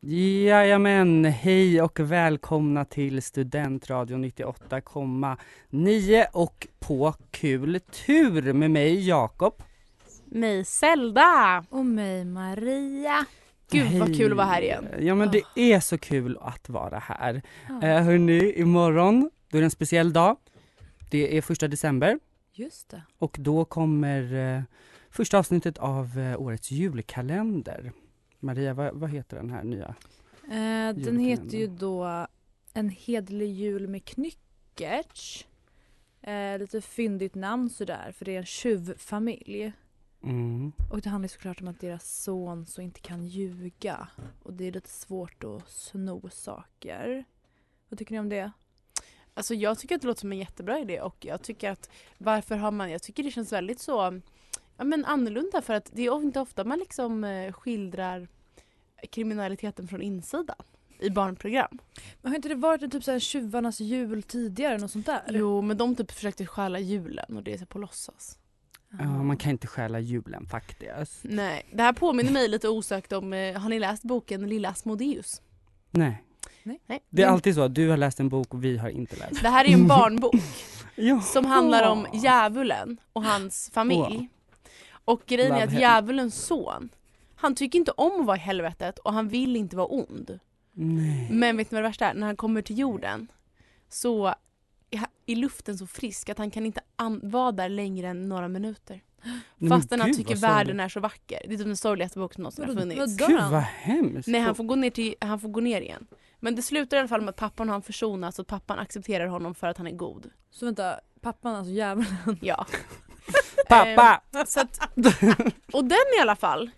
Jajamän, hej och välkomna till Studentradio 98,9 och På kul tur med mig Jakob. Mig Zelda! Och mig Maria. Gud vad Hej. kul att vara här igen. Ja men det är så kul att vara här. Eh, hörni, imorgon då är det en speciell dag. Det är första december Just det. och då kommer eh, första avsnittet av eh, årets julkalender. Maria, vad, vad heter den här nya? Eh, den Julkalendern. heter ju då En hederlig jul med knyckerts. Eh, lite fyndigt namn sådär för det är en tjuvfamilj. Mm. Och det handlar såklart om att deras son så inte kan ljuga. Och det är lite svårt att sno saker. Vad tycker ni om det? Alltså jag tycker att det låter som en jättebra idé och jag tycker att varför har man, jag tycker det känns väldigt så ja, men annorlunda för att det är inte ofta man liksom eh, skildrar kriminaliteten från insidan i barnprogram. Men har inte det varit en typ såhär tjuvarnas jul tidigare? Något sånt där? Jo men de typ försökte stjäla julen och det är så på låtsas. Ja, man kan inte stjäla julen faktiskt. Nej, det här påminner mig lite osökt om, eh, har ni läst boken Lilla Asmodeus? Nej. Nej. Det är alltid så, att du har läst en bok och vi har inte läst. Det här är ju en barnbok. Ja. som handlar om djävulen och hans familj. Och grejen Love är att him. djävulens son, han tycker inte om att vara i helvetet och han vill inte vara ond. Nej. Men vet ni vad det värsta är? När han kommer till jorden så är han i luften så frisk att han kan inte an- vara där längre än några minuter. Men Fastän han gud, tycker vad sorgligt. världen är så vacker. Det är typ den sorgligaste boken som någonsin har funnits. Vad dör Gud vad han? hemskt. Nej han får, gå ner till, han får gå ner igen. Men det slutar i alla fall med att pappan och han försonas och pappan accepterar honom för att han är god. Så vänta, pappan alltså djävulen. Ja. Pappa! Så att, och den i alla fall.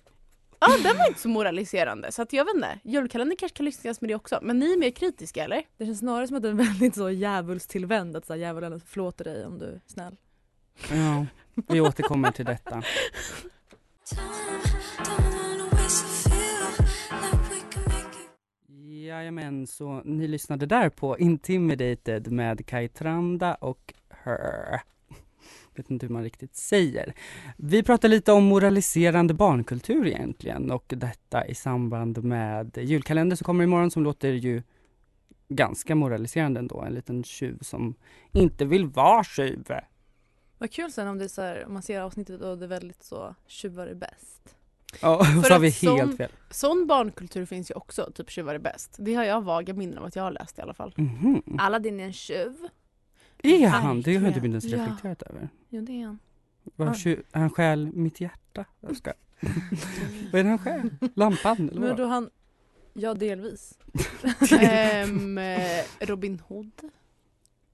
Ja, den var inte så moraliserande. Så att jag vet inte. Julkalendern kanske kan lyssnas med det också. Men ni är mer kritiska eller? Det känns snarare som att den är väldigt så djävulstillvänd att så här, djävulen förlåter dig om du är snäll. Ja, vi återkommer till detta. Jajamän, så ni lyssnade där på Intimidated med Kai Tranda och Her. Vet inte hur man riktigt säger. Vi pratar lite om moraliserande barnkultur egentligen och detta i samband med julkalender som kommer imorgon som låter ju ganska moraliserande ändå. En liten tjuv som inte vill vara tjuv. Vad kul sen om det är så här, om man ser avsnittet och det är väldigt så tjuvar är bäst. Ja, och För så har vi att som- helt fel. Sån barnkultur finns ju också. Typ Tjuvar är bäst. Det har jag vaga minnen av att jag har läst i alla fall. Mhm. Aladdin är en tjuv. Är han? Det har jag inte Verkligen. minst Ja. reflekterat över. Jo det är han. Var Ja. tju- han stjäl mitt hjärta. Jag ska. Vad är det han stjäl? Lampan eller Men vad? då han, ja delvis. Ehm, eh, Robin Hood.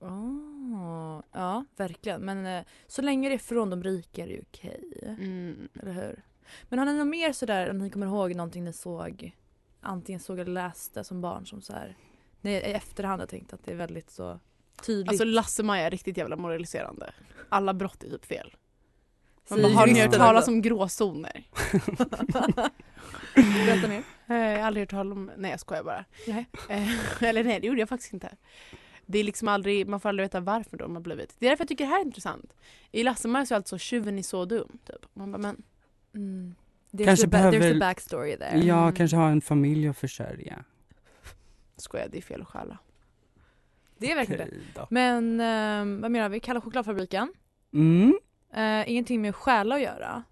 Oh, ja verkligen men eh, så länge det är från de rika är det ju okej. Mm. Eller hur? Men har ni något mer sådär om ni kommer ihåg någonting ni såg antingen såg eller läste som barn som så här, ni i efterhand har tänkt att det är väldigt så tydligt. Alltså Lasse-Maja är riktigt jävla moraliserande. Alla brott är typ fel. Man Säger bara, har ni hört juristen talas alltså. om gråzoner? Berätta mer. Eh, Jag har aldrig hört talas om... Nej jag skojar bara. Nej. Eh, Eller nej det gjorde jag faktiskt inte. det är liksom aldrig, man får aldrig veta varför de har blivit. Det är därför jag tycker det här är intressant. I Lasse-Majas är alltså tjuven är så dum. Typ. Man bara, men Mm. There's, Kanske a ba- there's behöver- a backstory there. Ja, Mm. kanske ha en familj att försörja. skojar, det är fel att stjäla. Det är verkligen det. Okej då. Men ehm, vad menar vi? Kalla chokladfabriken. Mm. Eh, ingenting med stjäla att göra.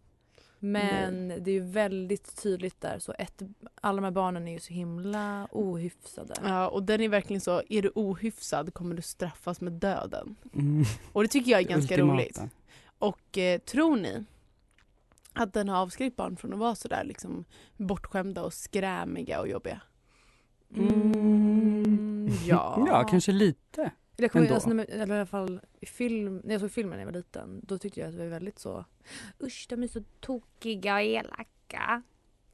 Men det är ju väldigt tydligt där så ett, alla de här barnen är ju så himla ohyfsade. Ja, och den är verkligen så, är du ohyfsad kommer du straffas med döden. Mm. Och det tycker jag är ganska Ultimata. roligt. Och eh, tror ni att den har avskräckt barn från att vara sådär liksom bortskämda och skrämiga och jobbiga? Mm, ja. Ja, kanske lite. Eller, jag kommer, ändå. alltså, nej, men- eller i alla fall i film, när jag såg filmen när jag var liten då tyckte jag att det var väldigt så usch de är så tokiga och elaka.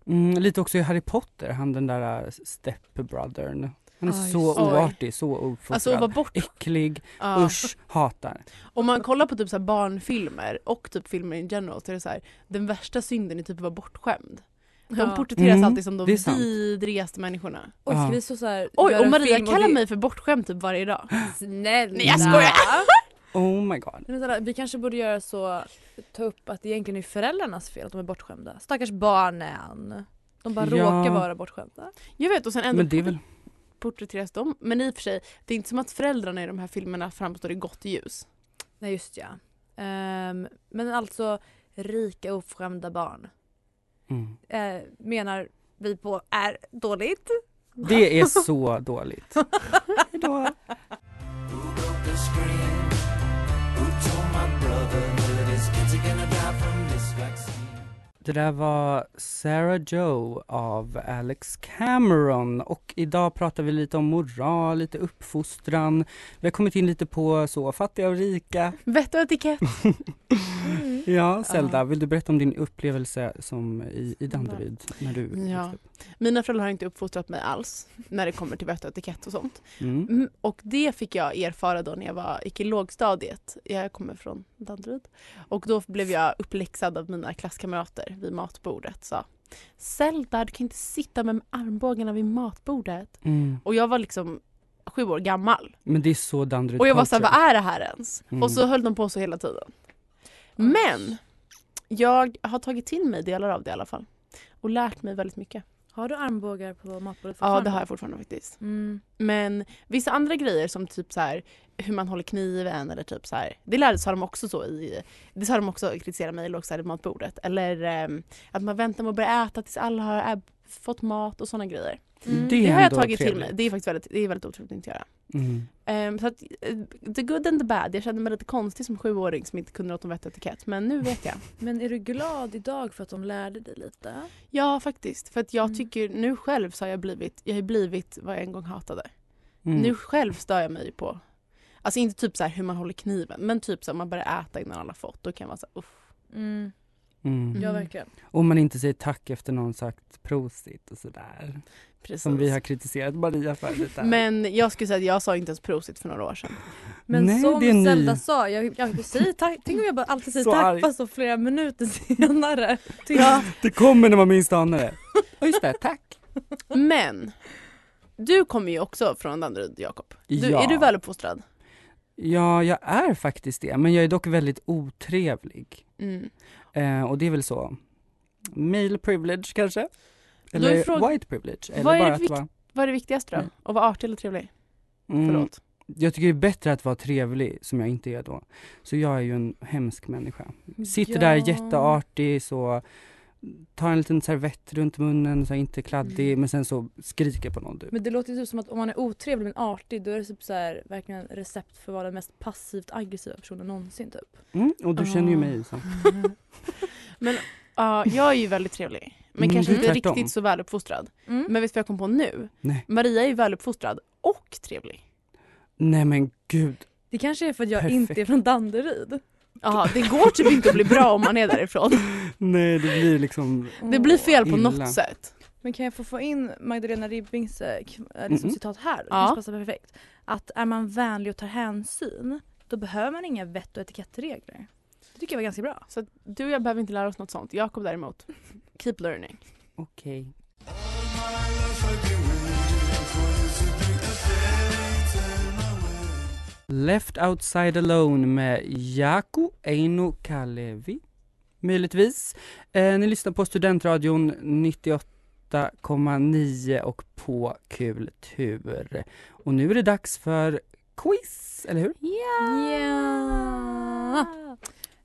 Mm, lite också i Harry Potter, han den där äh, stepbrothern. Han är Aj, så oj. oartig, så ouppfostrad. Alltså att vara bort... Äcklig, Ja. usch, hatar. Om man kollar på typ så här barnfilmer och typ filmer in general så är det så här, den värsta synden är typ att vara bortskämd. De Ja. porträtteras Mm, alltid som de det är sant. vidrigaste människorna. Oj ska Ja. vi så, så här, Oj, göra och en Maria film kallar det- mig för bortskämd typ varje dag. Snälla! Nej, jag skojar. Oh my god. Men snälla, vi kanske borde göra så, ta upp att det egentligen är föräldrarnas fel att de är bortskämda. Stackars barnen. De bara Ja. råkar vara bortskämda. Jag vet och sen ändå Men det är väl, porträtteras de. Men i och för sig, det är inte som att föräldrarna i de här filmerna framstår i gott ljus. Nej just ja. Ehm, men alltså rika oförskämda barn mm. eh, menar vi på är dåligt. det är så dåligt. Hejdå. Det där var Sarah Joe av Alex Cameron och idag pratar vi lite om moral, lite uppfostran. Vi har kommit in lite på så fattiga och rika. Vett och etikett. Ja, Zelda, vill du berätta om din upplevelse som i, i Danderyd när du Ja. växte upp? Mina föräldrar har inte uppfostrat mig alls när det kommer till vett och etikett och sånt. Mm. Mm, och det fick jag erfara då när jag var, gick i lågstadiet. Jag kommer från Danderyd. Och då blev jag uppläxad av mina klasskamrater vid matbordet. Sa, Zelda, du kan inte sitta med armbågarna vid matbordet. Mm. Och jag var liksom sju år gammal. Men det är så Danderyd Och jag var såhär, vad culture. är det här ens? Mm. Och så höll de på så hela tiden. Men jag har tagit till mig delar av det i alla fall. Och lärt mig väldigt mycket. Har du armbågar på matbordet Ja, fortfarande? det har jag fortfarande faktiskt. Mm. Men vissa andra grejer som typ så här hur man håller kniven eller typ så här. Det lärde sa de också så i, det sa de också kritisera mig i lågstadiet matbordet. Eller ehm, att man väntar med att börja äta tills alla har ä- fått mat och sådana grejer. Mm. Det, är har jag ändå tagit till trevligt. mig. Det är faktiskt väldigt, det är väldigt otroligt att göra. Mm. Ehm, så att, eh, the good and the bad. Jag kände mig lite konstig som sjuåring som inte kunde något om vett och etikett. Men nu vet jag. Men är du glad idag för att de lärde dig lite? Ja faktiskt. För att jag Mm. tycker nu själv så har jag blivit, jag har blivit vad jag en gång hatade. Mm. Nu själv stör jag mig på, alltså inte typ så här hur man håller kniven, men typ så här, man börjar äta innan alla fått, då kan man säga uff. Mm. Mm. Ja Mm. verkligen. Om man inte säger tack efter någon sagt prosit och sådär. Precis. Som vi har kritiserat Maria för lite. här. Men jag skulle säga att jag sa inte ens prosit för några år sedan. Men Nej, som det är ni. Zelda sa, jag, jag säger tack, tänk om jag bara alltid säger Så tack arg. fast så flera minuter senare. Ja, Det kommer när man minst anar det. Och just det, tack. men du kommer ju också från Danderyd, Jakob. Du, Ja. Är du väluppfostrad? Ja, jag är faktiskt det. Men jag är dock väldigt otrevlig. Mm. Eh, och det är väl så, male privilege kanske? Då är Eller frågan- white privilege? Eller Vad är bara det att vikt- vara... Vad är det viktigaste då? Mm. Att vara artig eller trevlig? Mm. Förlåt. Jag tycker det är bättre att vara trevlig, som jag inte är då. Så jag är ju en hemsk människa. Sitter där jätteartig, så tar en liten servett runt munnen så jag inte är kladdig, Mm. men sen så skriker på någon du. Men det låter ju typ som att om man är otrevlig men artig då är det typ så här, verkligen recept för att vara den mest passivt aggressiva personen någonsin typ. Mm, och du känner ju Ah. mig så. Ja, jag är ju väldigt trevlig. Men Mm, kanske du är inte tvärtom. riktigt så väluppfostrad. Mm. Men vet du vad jag kom på nu? Nej. Maria är ju väluppfostrad och trevlig. Nej men gud. Det kanske är för att jag Perfekt. inte är från Danderyd. Jaha, det går typ inte att bli bra om man är därifrån. Nej det blir liksom, Det blir fel på Illa. något sätt. Men kan jag få få in Magdalena Ribbings eh, k- eh, liksom Mhm. citat här? Det Ja. kanske passar perfekt. Att är man vänlig och tar hänsyn då behöver man inga vett och etikettregler. Det tycker jag var ganska bra. Så att du och jag behöver inte lära oss något sånt. Jakob däremot, keep learning. okej. Left Outside Alone med Jaku Eino Kalevi, möjligtvis. Eh, ni lyssnar på Studentradion 98,9 och på Kultur. Och nu är det dags för quiz, eller hur? Ja!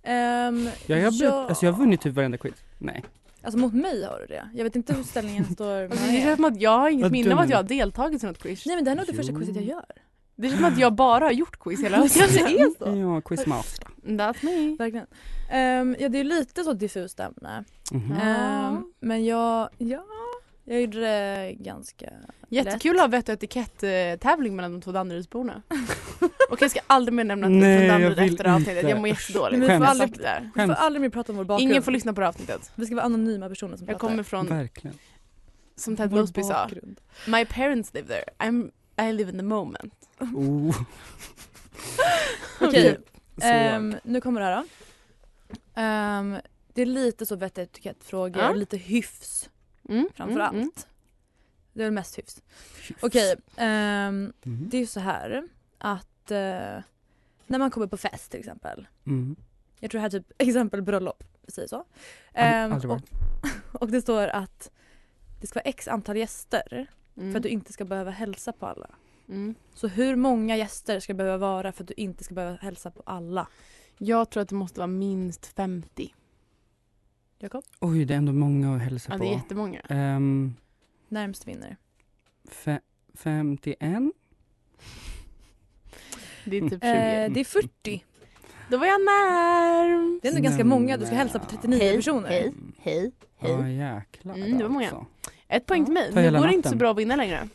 Ehm, Ja, jag, har blivit, alltså, jag har vunnit typ varenda quiz. Nej. Alltså mot mig har du det. Jag vet inte hur ställningen står. Alltså, det känns som att jag har inget Vad minne av dum. att jag har deltagit i något quiz. Nej men det här är nog det första Jo. quizet jag gör. Det känns som att jag bara har gjort quiz hela hösten. är Ja, quizmaster. That's me. Verkligen. Ehm, ja det är lite så diffust ämne. Mhm. Ehm, men jag, ja. Jag gjorde det ganska... Jättekul att ha vett och etikett-tävling mellan de två Danderydsborna. och jag ska aldrig mer nämna att vi Nej, är från jag Danderyd vill efter det här avsnittet. inte. Jag mår Usch, jättedåligt. vi får Jag har aldrig- sagt det där. Vi får Skäms. aldrig mer prata om vår bakgrund. Ingen får lyssna på det här avsnittet. Vi ska vara anonyma personer som Jag pratar. kommer från, Verkligen. som Ted Vår Mosby sa, bakgrund. My parents live there. I'm, I live in the moment. Oh, Okej, så. ehm, nu kommer det här då. Ehm, det är lite så vett och etikettfrågor Ja. och lite hyfs Mm, framför mm, allt. mm. Det är väl mest hyfs. Okej, ehm, Mhm. det är ju så här att eh, när man kommer på fest till exempel. Mm. Jag tror det här är typ exempel bröllop, vi säger så. Ald- Ehm, aldrig och, varit. och det står att det ska vara x antal gäster för Mm. att du inte ska behöva hälsa på alla. Mm. Så hur många gäster ska det behöva vara för att du inte ska behöva hälsa på alla? Jag tror att det måste vara minst 50. Jakob, Oj, det är ändå många att hälsa Ja, på. det är jättemånga. Ehm, närmst vinner. fe- 51? Det är typ 20. Eh, Mm. det är 40. Då var jag när. Det är ändå ganska Nej, många. Du ska men- hälsa på 39 Hej, personer. hej. Hej. Ja, jäklar Mm, det var många. alltså. Ett poäng till mig. Ta Nu hela går det inte natten. så bra att vinna längre.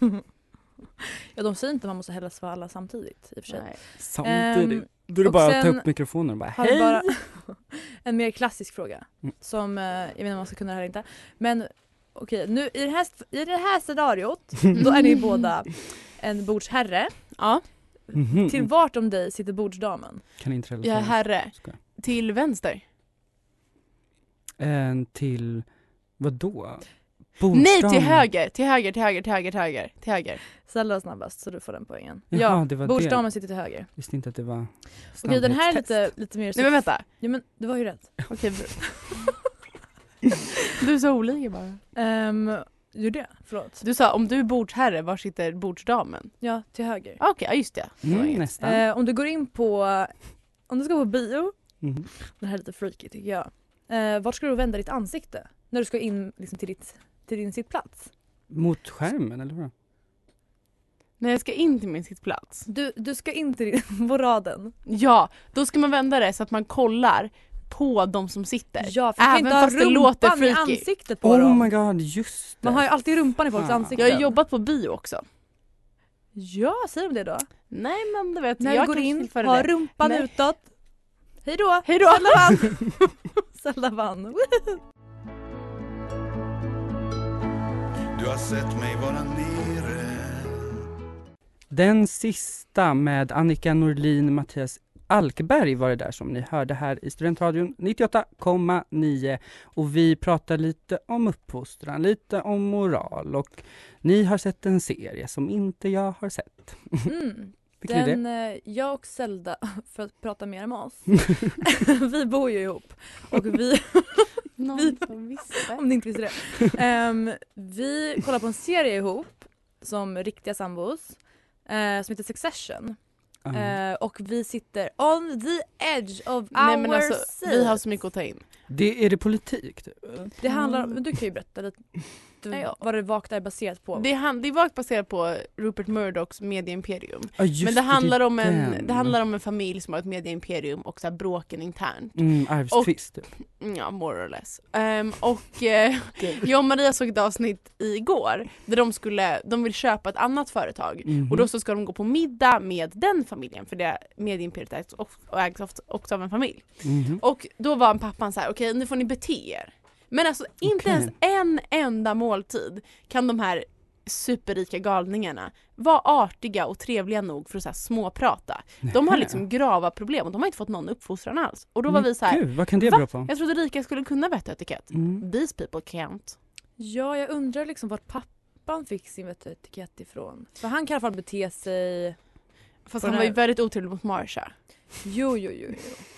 Ja, de säger inte att man måste hälsa på alla samtidigt i och för sig. Nej. Samtidigt. Ehm, Då är det och bara att ta sen upp mikrofonen och bara Har hej. bara en mer klassisk fråga. Mm. Som, eh, jag vet inte om man ska kunna det här eller inte. Men okej, nu i det här, i det här scenariot då är ni båda en bordsherre. Ja, Mhm. Till vart om dig sitter bordsdamen. Kan inte relatera. jag är herre. Skoja. Till vänster. En Ehm, till, vadå? Nej, Borstam. till höger. Till höger, till höger, till höger, till höger. Till höger. Ställ dig snabbast så du får den poängen. Jaha, det var ja, det. bordsdamen sitter till höger. Visste inte att det var Okej den här är snabbhetstest. lite, lite mer... Nej men vänta. Ja men du var ju rätt. Okej. bra. du är så olika bara. Um, gjorde jag? Förlåt. Du sa om du är bordsherre, var sitter bordsdamen? Ja, till höger. Ah, Okej, ja just det. Det var Mm, inget. nästan. Eh, om du går in på... Om du ska på bio, Mhm. det här är lite freaky tycker jag. Eh, vart ska du vända ditt ansikte? När du ska in liksom, till, ditt, till din sittplats. Mot skärmen eller hur? När jag ska in till min sittplats. Du, du ska in till din, på raden. Ja, då ska man vända det så att man kollar på de som sitter. Ja, för du kan Även inte ha fast det låter rumpan i freaky. ansiktet på Oh dem. my god, just det. Man har ju alltid rumpan i folks Fan. ansikten. Jag har jobbat på bio också. Ja, säger de det då? Nej men du vet, När jag du går kanske in, tillför ha det. rumpan Nej. utåt. Hej då! Hej då! Zelda vann. Du har sett mig vara nere Den sista med Annika Norlin, Mattias Alkberg var det där som ni hörde här i Studentradion 98,9 och vi pratar lite om uppfostran, lite om moral och ni har sett en serie som inte jag har sett. Mm. Vilken är det? Den, eh, jag och Zelda, för att prata mer om oss, vi bor ju ihop. Och vi Någon som visste. Om ni inte visste det. Ehm, vi kollar på en serie ihop som riktiga sambos eh, som heter Succession. Ja. Eh, och vi sitter on the edge of Nej our men alltså, seat. vi har så mycket att ta in. det är det politik? Typ. Det handlar om, men du kan ju berätta lite Nej, du, ja. vad det vakna är baserat på. Det, han, det var baserat på Rupert Murdochs medieimperium. Ja, just men det handlar, är om en, den. det handlar om en familj som har ett medieimperium och så här bråken internt. Mm, arvstvist. Typ. Mm, Ja, more or less. Ehm, och eh, jag och Maria såg ett avsnitt igår där de, skulle, de vill köpa ett annat företag. Mhm. Och då så ska de gå på middag med den familjen för det medieimperiet ägs, of- och ägs ofta, också av en familj. Mhm. Och då var pappan så här: okej nu får ni bete er. Men alltså inte Okej. ens en enda måltid kan de här superrika galningarna vara artiga och trevliga nog för att så här småprata. De har liksom grava problem och de har inte fått någon uppfostran alls. Och då var vi så här: Gud, vad kan det "Va? bero på? jag trodde rika skulle kunna vett och etikett. Mm. These people can't. Ja, jag undrar liksom vart pappan fick sin vett och etikett ifrån. För han kan i alla fall bete sig... Fast på han den var ju här- väldigt otrevlig mot Marsha. Jo, jo, jo. jo.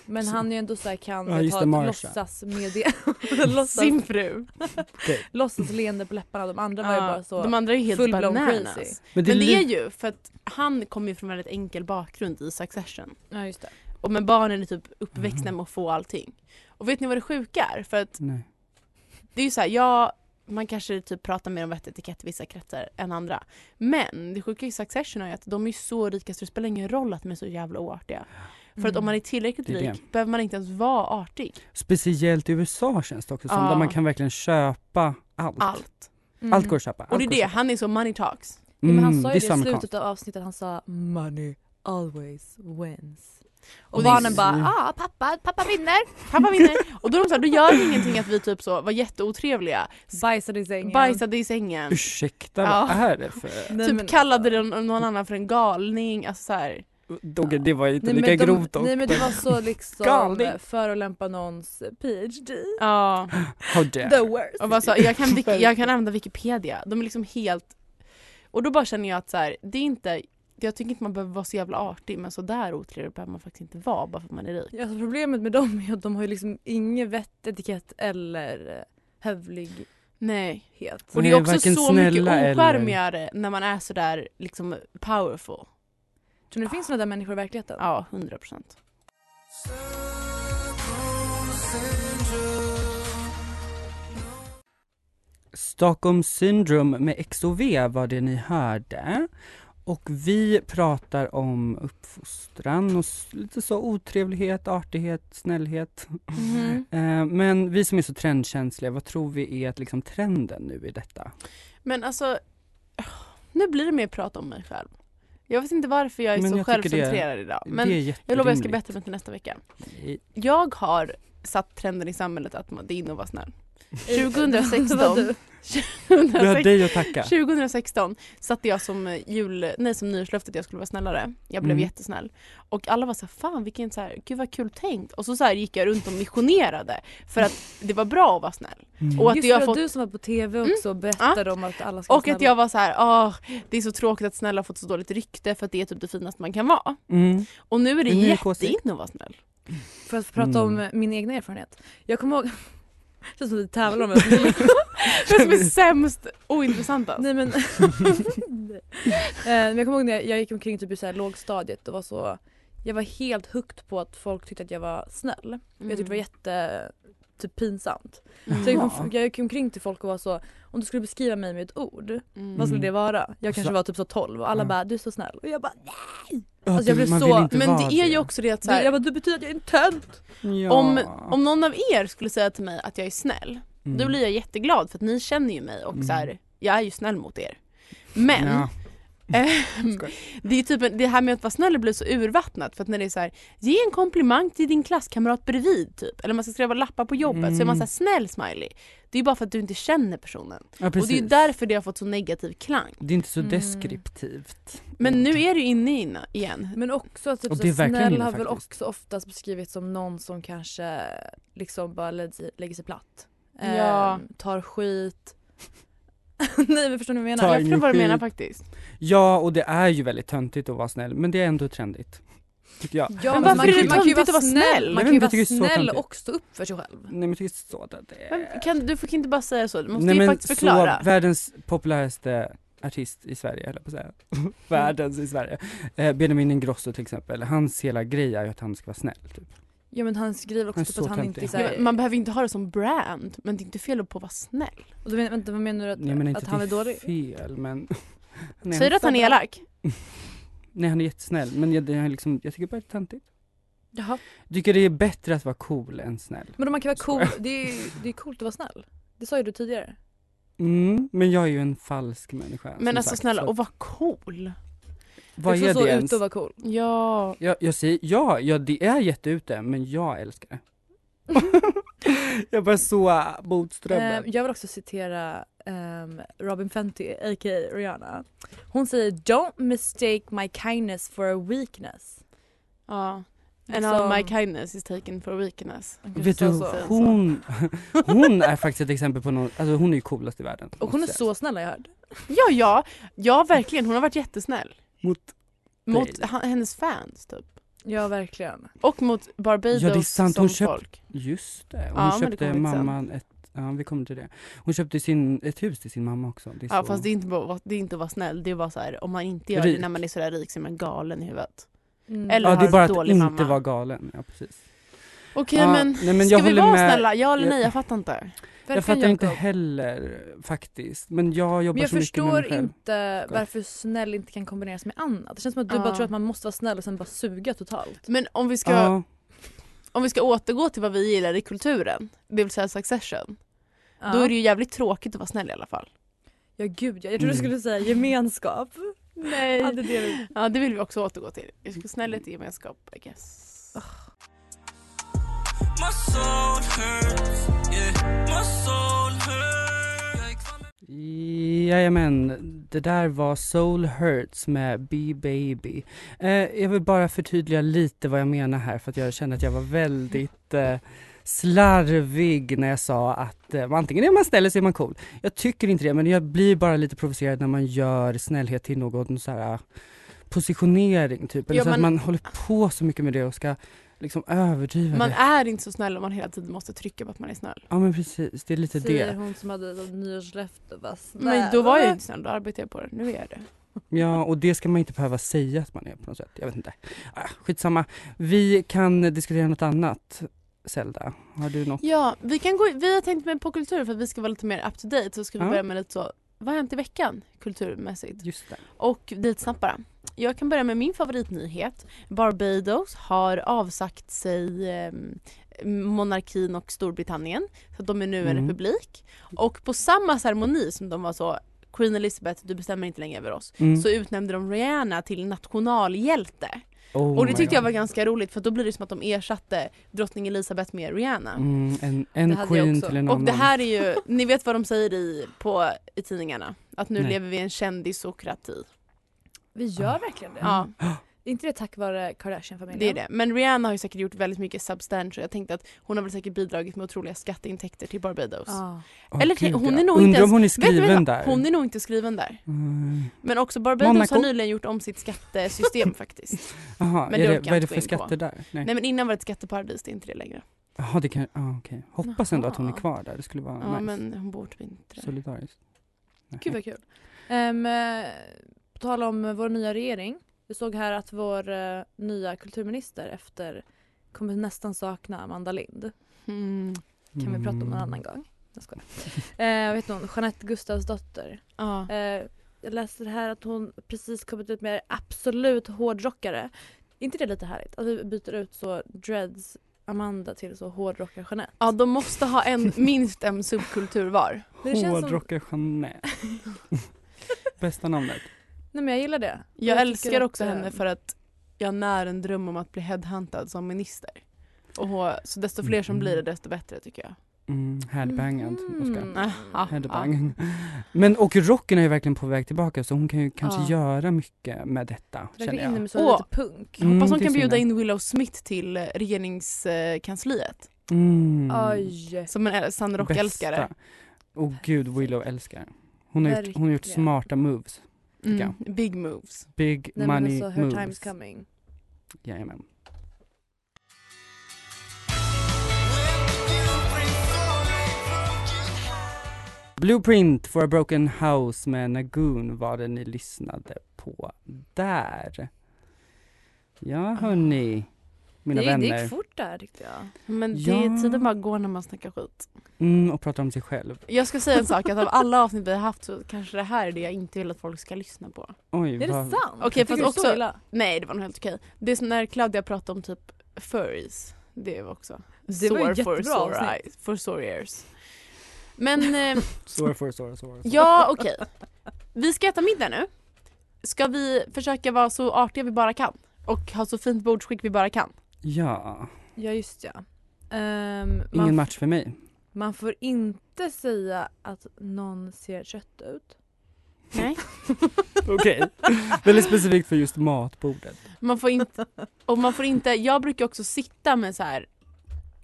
Men Så- han är ju ändå så här, kan Ja, jag just ta det, ett Marsha. låtsas med det. låtsas, Sin fru. låtsas leende på läpparna. De andra var ju Ja, bara så. de andra är ju helt full-blown bananas. crazy. Men det, Men det är är li- ju för att han kommer ju från väldigt enkel bakgrund i Succession. Ja, just det. Och men barnen är typ uppväxta Mhm. med att få allting. Och vet ni vad det sjuka är? För att Nej. det är ju så här, ja, man kanske typ pratar mer om vett och etikett i vissa kretsar än andra. Men det sjuka i Succession är ju att de är ju så rika så det spelar ingen roll att de är så jävla oartiga. För att om man är tillräckligt Mm. Det är det. rik behöver man inte ens vara artig. Speciellt i USA känns det också som, Ja. där man kan verkligen köpa allt. Allt, Allt. Mm. går att köpa. Och det allt är går det, att köpa. han är så money talks. Ja, men han Mm, sa det ju är det i så amerikanskt. slutet av avsnittet, han sa money always wins. Och, Och det är barnen så- bara ah pappa, pappa vinner! Pappa vinner. Och då är de så här, då gör det ingenting att vi typ så var jätteotrevliga. Bajsade i sängen. Bajsade i sängen. Ursäkta, vad Ja. är det för... Nej, typ men- kallade den någon annan för en galning. Alltså så här. Dogge, det var inte Nej, lika men de- grovt dock. Nej men det var så liksom Galning. förolämpa någons eh, PhD. Ja. How dare. The worst. Och bara så, jag, kan wiki, jag kan använda Wikipedia. De är liksom helt... Och då bara känner jag att så här, det är inte... Jag tycker inte man behöver vara så jävla artig men så där otrevlig behöver man faktiskt inte vara bara för att man är rik. Ja, alltså problemet med dem är att de har ju liksom inget vett, etikett eller eh, hövlighet. Nej. Och det Nej, är också varken så mycket snälla eller- ocharmigare när man är så där liksom powerful. Tror ni det finns sådana där människor i verkligheten? Ja, 100 procent. Stockholm syndrome med XOV var det ni hörde. Och vi pratar om uppfostran och s- lite så otrevlighet, artighet, snällhet. Mhm. Eh, Men vi som är så trendkänsliga, vad tror vi är att liksom trenden nu i detta? Men alltså, nu blir det mer prat om mig själv. Jag vet inte varför jag är Men så jag tycker det- självcentrerad idag. Men det är jag lovar jag ska jätterimligt. bättra mig till nästa vecka. I- Jag har satt trenden i samhället att man, det är inne att vara snäll. Vad 2016, du- Vi har 2016, dig att tacka. 2016 satte jag som eh, jul, nej som nyårslöfte att jag skulle vara snällare. Jag blev Mm. jättesnäll. Och alla var så här, fan vilken så här, gud vad kul tänkt. Och så, så här gick jag runt och missionerade för att det var bra att vara snäll. Mm. Och att Just jag det, fått du som var på tv också och berättade om att alla ska och att jag var så här, ah, det är så tråkigt att snälla har fått så dåligt rykte för att det är typ det finaste man kan vara. Mm. Och nu är det En ny åsikt. jätteinne att vara snäll. För att få prata om Mm. min egna erfarenhet. Jag kommer ihåg, det känns som att vi tävlar om det. Det som är sämst ointressantast. Nej men, Nej. Eh, men jag kommer ihåg när jag, jag gick omkring typ i så här lågstadiet och var så Jag var helt hooked på att folk tyckte att jag var snäll. Jag tyckte det var jätte typ pinsamt. Mm. Så jag, gick, om- jag gick omkring till folk och var så Om du skulle beskriva mig med ett ord, Mm. Alltså- vad skulle Mm. det vara? Jag kanske Så- var typ så 12 och alla Ja. bara du är så snäll och jag bara nej. Ja, Alltså, jag du- blev man så- vill inte Men vara det är ju också det att så här, jag bara du betyder att jag är en tönt. Ja. om, om någon av er skulle säga till mig att jag är snäll, Mm. då blir jag jätteglad för att ni känner ju mig och så här, jag är ju snäll mot er. Men Ja. ehm, Skoj. det, är typ, en- det här med att vara snäll blir så urvattnat för att när det är så här, ge en komplimang till din klasskamrat bredvid typ, eller man ska skriva lappar på jobbet så är man så här, snäll Mm. smiley. Det är ju bara för att du inte känner personen. Ja, Och det är ju precis. därför det har fått så negativ klang. Det är inte så Mm. deskriptivt. Men nu är det ju inne i- igen. Men också att typ Och så det är här, verkligen snäll inne, har väl faktiskt. också oftast beskrivits som någon som kanske liksom bara lägger sig, lägger sig platt. Ja. Ehm, tar skit. Nej men förstår ni vad jag menar? Ta Jag förstår vad du energi. menar faktiskt. Ja, och det är ju väldigt töntigt att vara snäll, men det är ändå trendigt. Tycker jag. Ja, Men men varför är det man kan ju töntigt att vara snäll? Man Jag kan ju vet vara inte, jag tycker det är så snäll töntigt. och stå upp för sig själv. Nej men jag tycker så att det är... Men Kan, du får inte bara säga så, du måste Nej, ju men faktiskt förklara. Så, världens populäraste artist i Sverige, höll jag på att säga. världens i Sverige. Eh, Benjamin Ingrosso till exempel, hans hela grej är ju att han ska vara snäll. Typ. Ja men han skriver Han är också typ så att han töntig. inte är Ja, men såhär... man behöver inte ha det som brand, men det är inte fel på att vara snäll. Och då menar- Vänta vad menar du? Att, Jag menar inte att han är dålig? fel men... han är- Säger du att han är elak? Nej han är jättesnäll men jag, det är liksom, jag tycker bara det är töntigt. Jaha. Jag tycker det är bättre att vara cool än snäll. Men då man kan vara cool, Skojar. det är, ju- det är coolt att vara snäll. Det sa ju du tidigare. Mm, men jag är ju en falsk människa. som Men alltså sagt, snälla, så att- och vara cool. vad du får är stå det ens? ute och vara cool. Ja. Jag, jag säger, ja, ja det är jätteute men jag älskar det. jag bara så mot strömmen. Ehm, jag vill också citera ehm, Robin Fenty, a.k.a. Rihanna. Hon säger “Don't mistake my kindness for a weakness”. ja. And Liksom- all my kindness is taken for weakness. Hon kanske Vet du, sa så. hon, hon är faktiskt ett exempel på någon, alltså hon är ju coolast i världen. Och hon är så snäll har jag hört. Ja, ja. Ja, verkligen. Hon har varit jättesnäll. Mot Mot ha- hennes fans typ. Ja verkligen. Och mot Barbados Ja, det är sant. som Hon köpt- folk. Just det, hon Ja, men det köpte kommer vi till sen. mamman ett, ja vi kommer till det. Hon köpte sin, ett hus till sin mamma också. Det är Ja så. fast det är inte bara det är inte att vara snäll, det är bara så här, om man inte gör Rik. det när man är sådär rik så är man galen i huvudet. Mm. Eller ja, det har är bara en att dålig inte mamma. vara galen. Ja, precis. Okej Ja, men, nej, men ska jag vi håller vara med. snälla? Ja eller Jag- nej? Jag fattar inte. Verkligen, jag fattar inte Jakob. heller faktiskt. Men jag jobbar Men jag så mycket med förstår mig själv. inte varför snäll inte kan kombineras med annat. Det känns som att du Ja. bara tror att man måste vara snäll och sen bara suga totalt. Men om vi ska, Ja, om vi ska återgå till vad vi gillar i kulturen, det vill säga Succession, Ja. då är det ju jävligt trodligt att vara snäll i alla fall. Ja gud ja. jag trodde du Mm. skulle säga gemenskap. Nej. Ja, det är det vi- Ja, det vill vi också återgå till. Jag skulle snällhet i gemenskap, I guess. Jajamän, det där var Soul Hurts med B-Baby. Eh, jag vill bara förtydliga lite vad jag menar här för att jag kände att jag var väldigt eh, slarvig när jag sa att eh, antingen är man snäll eller så är man cool. Jag tycker inte det men jag blir bara lite provocerad när man gör snällhet till någon så här eh, positionering typ. Eller Ja, så att man- man håller på så mycket med det och ska liksom överdriva Man det. är inte så snäll om man hela tiden måste trycka på att man är snäll. Ja men precis, det är lite Säger det. hon som hade ett nyårslöfte var snäll. Men då var jag ju inte snäll, då arbetade jag på det. Nu är jag det. Ja, och det ska man inte behöva säga att man är på något sätt. Jag vet inte. Ah, skitsamma. Vi kan diskutera något annat. Zelda, har du något? Ja, vi, kan gå, vi har tänkt med på kultur för att vi ska vara lite mer up to date. Så ska vi Ja. börja med lite så, vad har hänt i veckan kulturmässigt? Just det. Och lite snabbt bara. Jag kan börja med min favoritnyhet. Barbados har avsagt sig eh, monarkin och Storbritannien. Så att de är nu en Mm. republik. Och på samma ceremoni som de var så Queen Elizabeth, du bestämmer inte längre över oss. Mm. Så utnämnde de Rihanna till nationalhjälte. Oh och det my tyckte jag var God. ganska roligt för då blir det som att de ersatte drottning Elizabeth med Rihanna. Mm, en Det en hade jag queen också. till en Och annan. det här är ju, ni vet vad de säger i, på, i tidningarna? Att nu Nej. lever vi i en kändisokrati. Vi gör verkligen det. Mm. Ja. Är inte det tack vare Kardashian-familjen? Det är det. Men Rihanna har ju säkert gjort väldigt mycket substantial. Jag tänkte att hon har väl säkert bidragit med otroliga skatteintäkter till Barbados. Ja. Åh, eller gud, hon är ja. nog inte Undrar ens- om hon är Vet du skriven vad? där. Hon är nog inte skriven där. Mm. Men också Barbados Monaco. har nyligen gjort om sitt skattesystem faktiskt. Jaha, Men är det det, orkar vad är jag det inte för gå in på. skatter där? Nej. Nej men innan var det ett skatteparadis, det är inte det längre. Jaha, det kan, ah, okej. Hoppas ändå att hon är Jaha. kvar där. Det skulle vara Ja nice. men hon bor typ inte där. Solidariskt. Nej. Gud vad kul. Um, på tal om vår nya regering. Vi såg här att vår eh, nya kulturminister efter kommer nästan sakna Amanda Lind. Mm. Kan vi prata om en Mm. annan gång? Jag skojar. Eh, vet någon, Jeanette Gustavs dotter. Ja. Eh, jag läste här att hon precis kommit ut med absolut hårdrockare. inte det lite härligt? Att vi byter ut så dreads Amanda till så hårdrockar Jeanette. ja de måste ha en, minst en subkultur var. Men det känns som- Hårdrockar Jeanette. Bästa namnet. Nej men jag gillar det. Jag, tycker älskar att, också henne eh, för att jag när en dröm om att bli headhuntad som minister. Och hon, så desto fler som blir det desto bättre tycker jag. Mm, headbangad, Oskar. Mhm. Aha. Headbang. Men och rocken är ju verkligen på väg tillbaka så hon kan ju kanske Ja. göra mycket med detta. Känner Verkligen inne jag. med så Åh. lite punk. Jag hoppas Mm, hon det är kan bjuda synd. in Willow Smith till eh, regeringskansliet. Mm. Oj. Som en eh, San Rock-älskare. Bästa. Och gud Willow älskar. Hon har, gjort, hon har gjort Verkligen. smarta moves. Mm. Big moves. Big Nej men money alltså her time's moves. coming. Jajamän. Blueprint for a broken house med Nagoon var det ni lyssnade på där. Ja hörni, mina det, vänner. det gick fort där tyckte jag. Men det, Ja. tiden bara går när man snackar skit. Mm, och pratar om sig själv. Jag ska säga en sak, att av alla avsnitt vi har haft så kanske det här är det jag inte vill att folk ska lyssna på. Oj, Är det vad... sant? Okej, Tycker fast du också- så illa? Nej det var nog helt okej. Det är som när Claudia pratade om typ furries. Det var också Det var ju sore for jättebra sore, avsnitt. eyes, for sore ears. Men eh, Sår för sår, sår. ja okej. Vi ska äta middag nu. Ska vi försöka vara så artiga vi bara kan? Och ha så fint bordsskick vi bara kan. Ja, Ja just ja. Ehm, ingen man, match för mig. man får inte säga att någon ser kött ut. Nej. Okej. Väldigt specifikt för just matbordet. Man får inte, och man får inte, jag brukar också sitta med så här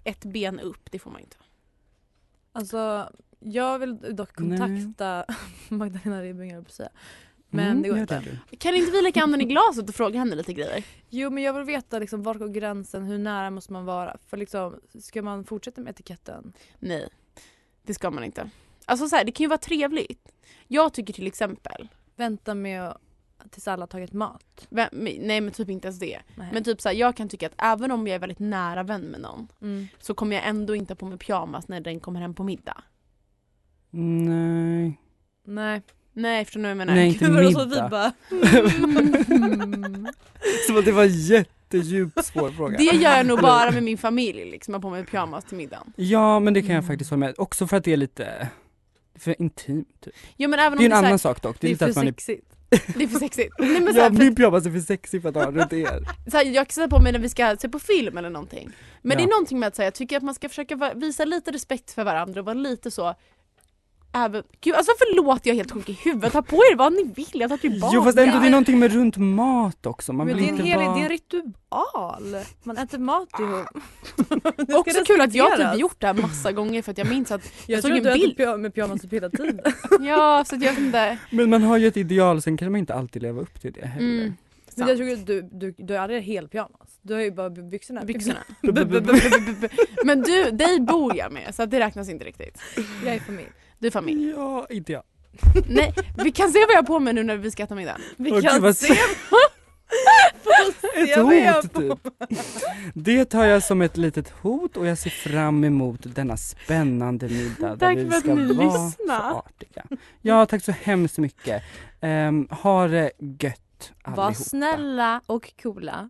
ett ben upp, det får man inte. Alltså jag vill dock kontakta Magdalena Ribbing höll jag på att säga. Men det går Mm, gör inte. du. Kan inte vi leka handen i glaset och fråga henne lite grejer? Jo men jag vill veta liksom, var går gränsen, hur nära måste man vara? För liksom, ska man fortsätta med etiketten? Nej, det ska man inte. Alltså så här, det kan ju vara trevligt. Jag tycker till exempel, Vänta med att, tills alla har tagit mat? vem, nej men typ inte ens det. Nej. Men typ så här, jag kan tycka att även om jag är väldigt nära vän med någon Mm. så kommer jag ändå inte ha på mig pyjamas när den kommer hem på middag. Nej. Nej. Nej förstår ni vad jag menar? Nej, inte Gud vad det var så att vi middag. bara... Mm. Som att det var en jättedjup svår fråga. Det gör jag nog bara med min familj liksom, jag har på mig pyjamas till middagen. Ja, men det kan jag Mm. faktiskt hålla med. Också för att det är lite för intimt. Typ. Jo men även Det är om det är, en så annan här, sak dock. Det Det är är inte för att man är... sexigt. det är för sexigt. Nej, men så här, Jag för blir att, pyjamas är för sexig för att ha runt er. så här, jag kan sätta på mig när vi ska se på film eller någonting. Men det Ja. är någonting med att säga, jag tycker att man ska försöka va- visa lite respekt för varandra och vara lite så Även, gud alltså förlåt jag är helt sjuk i huvudet, ta på er vad ni vill, jag tar tillbaka! Jo fast ändå det är någonting med runt mat också. Man Men vill det är, en inte hel, vara... det är en ritual. Man äter mat ihop. Ah. Det ska Också kul att jag respekteras. typ gjort det här massa gånger för att jag minns att Jag såg tror en att du bild. ätit pyja- med pyjamas typ hela tiden. Ja, så att jag vet inte. Men man har ju ett ideal, sen kan man inte alltid leva upp till det heller. Mm. Men jag tror att du, du, du har aldrig hel pyjamas. Du har ju bara byxorna. Byxorna. Mm. Men du, dig bor jag med så att det räknas inte riktigt. Jag är familj. Du är familj. Ja, inte jag. Nej, vi kan se vad jag har på mig nu när vi ska äta middag. Vi Åh, gud, kan vad se sexigt. Ett vad jag hot typ. Det tar jag som ett litet hot och jag ser fram emot denna spännande middag där Tack vi för att ska ni vara lyssnar. så artiga. Ja, tack så hemskt mycket. Um, ha det gött allihopa. Var snälla och coola.